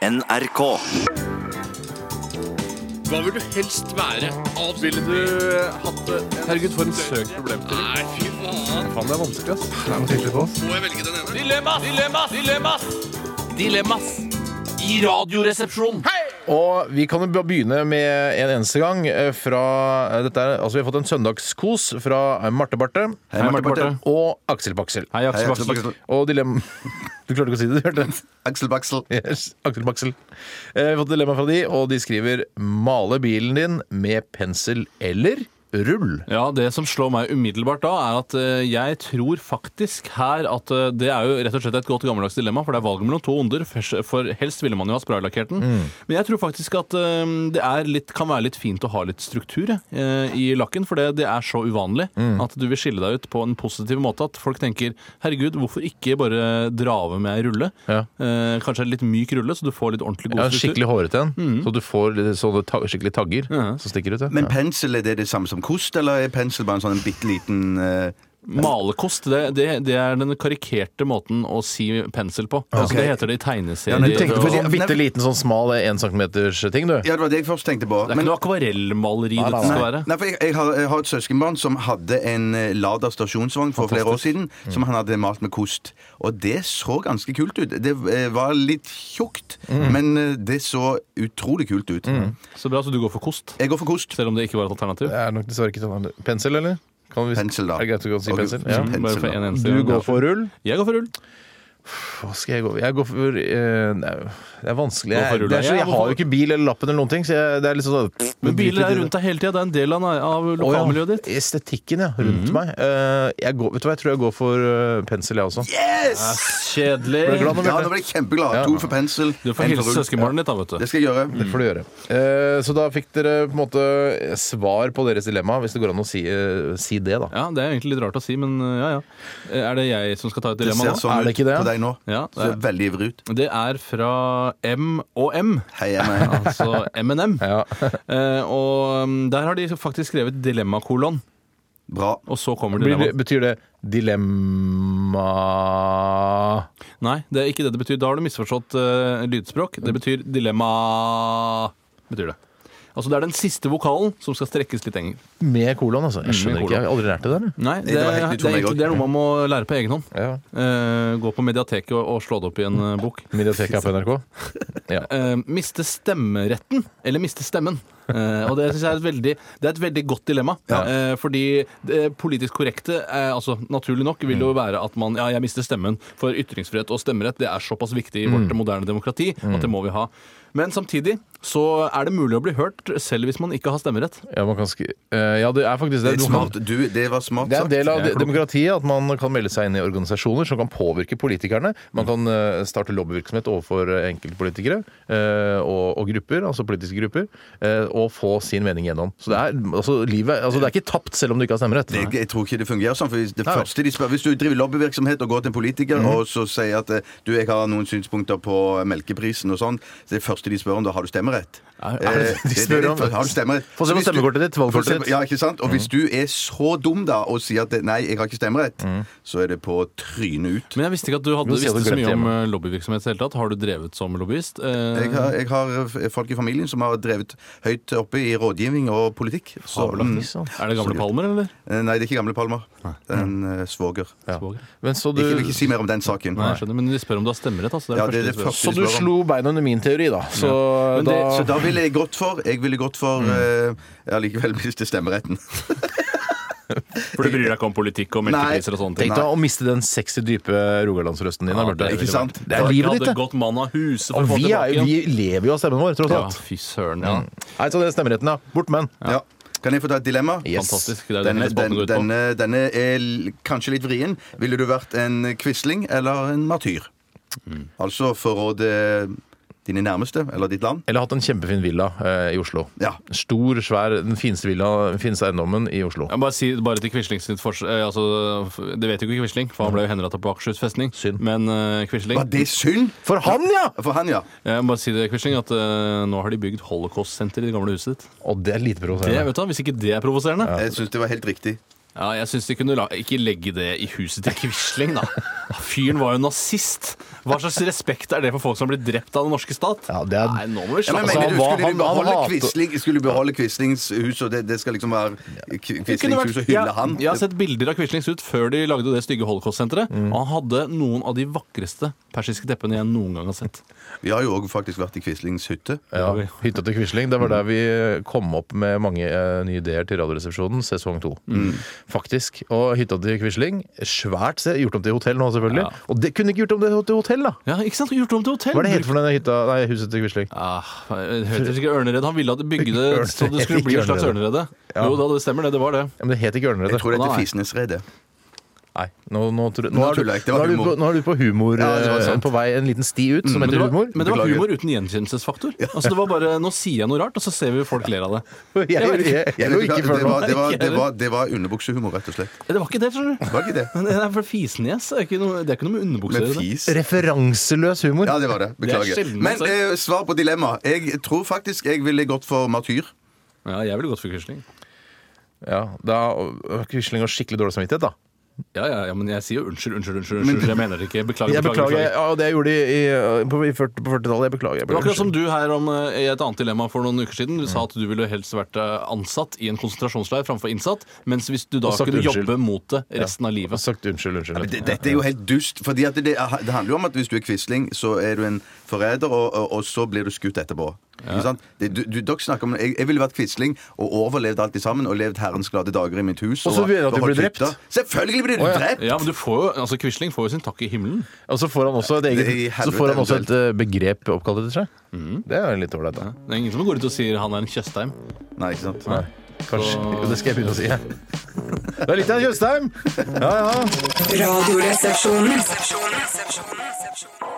NRK. Hva vil du helst være? Ville du hatt det? Herregud, for en søk problemstilling. Nei, fy faen. Faen, det er vanskelig, ass. Må jeg velge den ene? Dilemmas, dilemmas, dilemmas Dilemmas I radioresepsjonen Og vi kan jo bare begynne med en eneste gang eh, fra eh, dette er, altså Vi har fått en søndagskos fra eh, Marte Barte Hei, Marte Barthe. og Aksel Baksel. Hei, Hei, Aksel Aksel Baksel. Baksel. Og dilemma Du klarte ikke å si det, du hørte? det? Aksel Baksel. Yes, Aksel Baksel. Eh, Vi har fått dilemma fra de, og de skriver 'Male bilen din med pensel eller rull'. Ja, det som slår meg umiddelbart da, er at eh, jeg tror faktisk her at eh, det er jo rett og slett et godt gammeldags dilemma, for det er valget mellom to onder, Først- for helst ville man jo ha spraylakkert den. Mm. Men jeg tror faktisk at eh, det er litt, kan være litt fint å ha litt struktur jeg, eh, i lakken, for det, det er så uvanlig Mm. at du vil skille deg ut på en positiv måte at folk tenker, herregud, hvorfor ikke bare dra over med en rulle? Ja. Eh, Kanskje en litt myk rulle, så du får litt ordentlig Ja, god en struktur. skikkelig hårete en, Mm. så du får litt sånne ta skikkelig tagger som stikker ut. Ja. Men pensel, er det det samme som kost, eller er pensel bare en sånn bitte liten eh, Malekost, det, det, det er den karikerte måten å si pensel på. Altså, det heter det i Ja, tegneserier. men du det tenkte på er Nei, en bitte liten sånn smal eh, en centimeters ting, du? Ja, det var det jeg først tenkte på. ikke noe akvarellmaleri Nei, nei, dette skal nei. være. Nei, for jeg, jeg, har, jeg har et søskenbarn som hadde en eh, Lada stasjonsvogn for flere år siden, som han hadde malt med kost. Og det så ganske kult ut. Det eh, var litt tjukt, men eh, det så utrolig kult ut. Så bra, så du går for kost. Jeg går for kost. Selv om det ikke var et alternativ. Det er nok dessverre ikke sånn. Pensel, eller? Kan vi, Pensel, da. Er det greit å si Ok, pensel? ja. Ja. pensel, Bare for da. en eneste Du gang. går for rull? Jeg går for rull. Hva skal jeg gå for? Jeg går for eh, nei, Det er vanskelig. Gå for Jeg, rull, det er da. så, Jeg jeg går har for- jo ikke bil eller lappen eller noen ting, så jeg, det er liksom sånn pff, Men biler drit i er det. rundt deg hele tida. Det er en del av, av Å, ja. lokalmiljøet ditt. Mhm. Estetikken, ja. Rundt meg. Eh, jeg går, vet du hva, jeg tror jeg går for eh, pensel, jeg også. Yes! Ble du Kjedelig. glad nå, Ja, Bjarte? nå ble jeg kjempeglad. Ja. To for pensel. Du får en sånn hilse rull. søskenbarnet ditt, da, vet Det du. skal jeg gjøre. Det får du gjøre. Eh, så da fikk dere på en måte svar på deres dilemma, hvis det går an å si, eh, si det, da. Ja, Det er egentlig litt rart å si, men ja ja. Er det jeg som skal ta et Det dilemma ser nå? sånn Er det ikke ut det? på deg nå. Ja, Du ser veldig ivrig ut. Det er fra M og M. Hei, Emma. Altså M&M. Ja. Eh, og um, der har de faktisk skrevet dilemmakolon, Bra. og så kommer Blir dilemma. det, betyr det dilemma Nei, det er ikke det det betyr. Da har du misforstått eh, lydspråk. Mm. Det betyr dilemma betyr det. Altså Det er den siste vokalen som skal strekkes litt lenger. med kolon, altså? Jeg skjønner Mm, med ikke, jeg har aldri lært det der. jeg. Nei, det, det var er- helt nytt det, er, for meg egentlig- også. det er noe man må lære på egen hånd. Ja. Eh, gå på mediateket og, og slå det opp i en eh, bok. Mediateket på NRK. Ja. Eh, miste stemmeretten eller miste stemmen. Eh, og det synes jeg er et veldig, det er et veldig godt dilemma. Eh, fordi det politisk korrekte, eh, altså naturlig nok, vil Mm. jo være at man Ja, jeg mister stemmen, for ytringsfrihet og stemmerett det er såpass viktig i Mm. vårt moderne demokrati at det må vi ha. Men samtidig så er det mulig å bli hørt selv hvis man ikke har stemmerett. Ja, man kan skri eh, ja, det er faktisk det. Det, Du er kan- smart. Du, det var smart Det er en sagt. del av Jeg er klok. demokratiet at man kan melde seg inn i organisasjoner som kan påvirke politikerne. Man kan eh, starte lobbyvirksomhet overfor eh, enkeltpolitikere eh, og, og grupper, altså politiske grupper, eh, og få sin mening gjennom. Så det er, altså, livet, altså, det er ikke tapt selv om du ikke har stemmerett. Jeg, jeg tror ikke det fungerer sånn. for hvis det Nei. Mhm. første de spør, Hvis du driver lobbyvirksomhet og går til en politiker og så sier at eh, du, jeg har noen synspunkter på melkeprisen og sånn, så det første de spør om da, har du stemmerett? Er- er det- de Eh, det er det spør om- de- Har du stemmerett? Få se på Så hvis du- stemmekortet ditt, Mhm. valgkortet Få se- ditt. Ja, ikke sant? Og hvis du er så dum da og sier at det- nei, jeg har ikke stemmerett, Mhm. så er det på trynet ut. Men jeg visste ikke at du hadde, Du sier visste så du mye glemte om eh, lobbyvirksomhet i det hele tatt. Har du drevet som lobbyist? Eh, Jeg har, jeg har f- folk i familien som har drevet høyt oppe i rådgivning og politikk. Så, mm, Sånn. er det gamle palmer, eller? eh, nei, det er ikke gamle Palmer. Det er en eh, svoger. Ja. Svoger. Men så du, Ikke, vil ikke si mer om den saken. Nei, jeg skjønner, men de spør om du har stemmerett. Altså. Det er Ja, det, første det er de det spør om. første. så du slo beina under min teori, da. Så Men da det- Så da ville jeg gått for Jeg ville gått for Mm. eh, Jeg har likevel mistet stemmeretten. For du bryr deg ikke om politikk og melkepriser og sånne ting? Tenk deg å miste den sexy, dype rogalandsrøsten din. da, Ja, Bjarte. det er Ikke sant? Det er livet ditt, hadde det. gått mann av huset for Og å få vi, er, tilbake jo- igjen. Mm. vi lever jo av stemmen vår, tross Ja, alt. fy søren. Ja. Nei, så det er stemmeretten, da. Bort med den. Ja. Kan jeg få ta et dilemma? Yes. Fantastisk. Det er jo det Denne, hele den, spalten går ut på. denne, denne er l- kanskje litt vrien. Ville du vært en quisling eller en martyr? Mm. Altså forråde dine nærmeste eller ditt land? Eller hatt en kjempefin villa eh, i Oslo. Ja. Stor, svær, den fineste villa, den fineste eiendommen i Oslo. Jeg må bare, si, bare til Quisling sitt fors... eh, Altså, f- det vet jo ikke Quisling, for han ble jo henretta på Akershus festning. Synd. Men eh, Quisling Var det synd? For han, ja! For han, ja. Jeg må bare si det, Quisling, at eh, nå har de bygd holocaustsenter i det gamle huset ditt. Og det er lite Det, provoserende. vet du, hva, Hvis ikke det er provoserende Jeg syns det var helt riktig. Ja, jeg syns de kunne la, ikke legge det i huset til Quisling, da. Fyren var jo nazist! Hva slags respekt er det for folk som har blitt drept av den norske stat? Ja, det er- Nei, nå må vi Ja, men slappe Altså, mener han du, var- skulle de han- han beholde, hater- Quisling, skulle de beholde Quislings hus, og det, det skal liksom være Qu- Det kunne Quislings hus og vært- hylle Ja, han? Jeg har sett bilder av Quislings ut før de lagde det stygge holocaust-senteret. Mm. Og han hadde noen av de vakreste persiske teppene jeg noen gang har sett. Vi har jo òg faktisk vært i Quislings hytte. Ja, Hytta til Quisling. Det var der vi kom opp med mange eh, nye ideer til Radioresepsjonen sesong to. Mm. Mm. Faktisk. Og hytta til Quisling, svært sted. Gjort om til hotell nå, selvfølgelig. Ja. Og det kunne ikke gjort om det til hotell, da! Ja, ikke sant? Gjort om til hotell! Hva er det het for den hytta Nei, huset til Quisling? Ah, det heter ikke Ørnered. Han ville at de bygde det så det skulle bli en slags Ørnerede. Ja. Jo da, det stemmer det. Det var det. Ja, men det het ikke Ørneredet. Jeg tror det heter Nei. Fisnesredet. Nei, nå, nå, tror- nå, Nå er du, tuller jeg ikke, det nå, var er du på, humor. nå er du på humor Ja, det var eh, sant. Mm. På vei en liten sti ut som Men det heter var, humor. men det var Beklager. humor uten gjenkjennelsesfaktor. Altså, det var bare, Nå sier jeg noe rart, og så ser vi folk ler av det. Jeg, jeg, jeg, Jeg lå vet ikke ikke hva- før det, nå. var, det, var, det, var, det var underbuksehumor, rett og slett. Eh, Det var ikke det, skjønner du. Det var ikke det? Men det er for Fisnes det er ikke noe, det er ikke noe med underbukser å Men gjøre. det. fis Referanseløs humor. Ja, det var det. Beklager. Det er sjelden man Men eh, svar på dilemmaet. Jeg tror faktisk jeg ville gått for martyr. Ja, jeg ville gått for Quisling. Ja, da øh, Quisling har skikkelig dårlig samvittighet, da. Ja, ja, ja, men jeg sier jo unnskyld, unnskyld, unnskyld. unnskyld. Jeg mener det ikke. Beklager. Jeg beklager, beklager. Ja, det jeg gjorde i, i, på, i 40 på 40-tallet. Jeg beklager. Jeg Det var beklager. Akkurat som du her om, eh, i et annet dilemma for noen uker siden. Du Mm. sa at du ville helst vært eh, ansatt i en konsentrasjonsleir framfor innsatt. Mens hvis du da Og sagt kunne unnskyld. jobbe mot det resten av Jeg har livet. sagt unnskyld, unnskyld. Men det- Dette er jo helt dust. Fordi at det, det handler jo om at hvis du er Quisling, så er du en forræder, og, og, og så blir du skutt etterpå. Ikke sant? Det, du, du, dere snakker om jeg, jeg ville vært Quisling og overlevd alt sammen og levd herrens glade dager i mitt hus. Og så vil jeg at du beholdt blir drept. hytta. Selvfølgelig blir du Å, ja. drept! Ja, men du får jo, altså Quisling får jo sin takk i himmelen. Og så får han også et, Det er i eget, så helvete får han også et eh, begrep oppkalt etter seg. Mhm. Det er litt ålreit, da. Det er ingen som går ut og sier han er en Tjøstheim. Nei, ikke sant? Nei. Kanskje. Jo, det skal jeg begynne å si. jeg. Det er litt av en Tjøstheim! Ja, ja. Radioresepsjonen.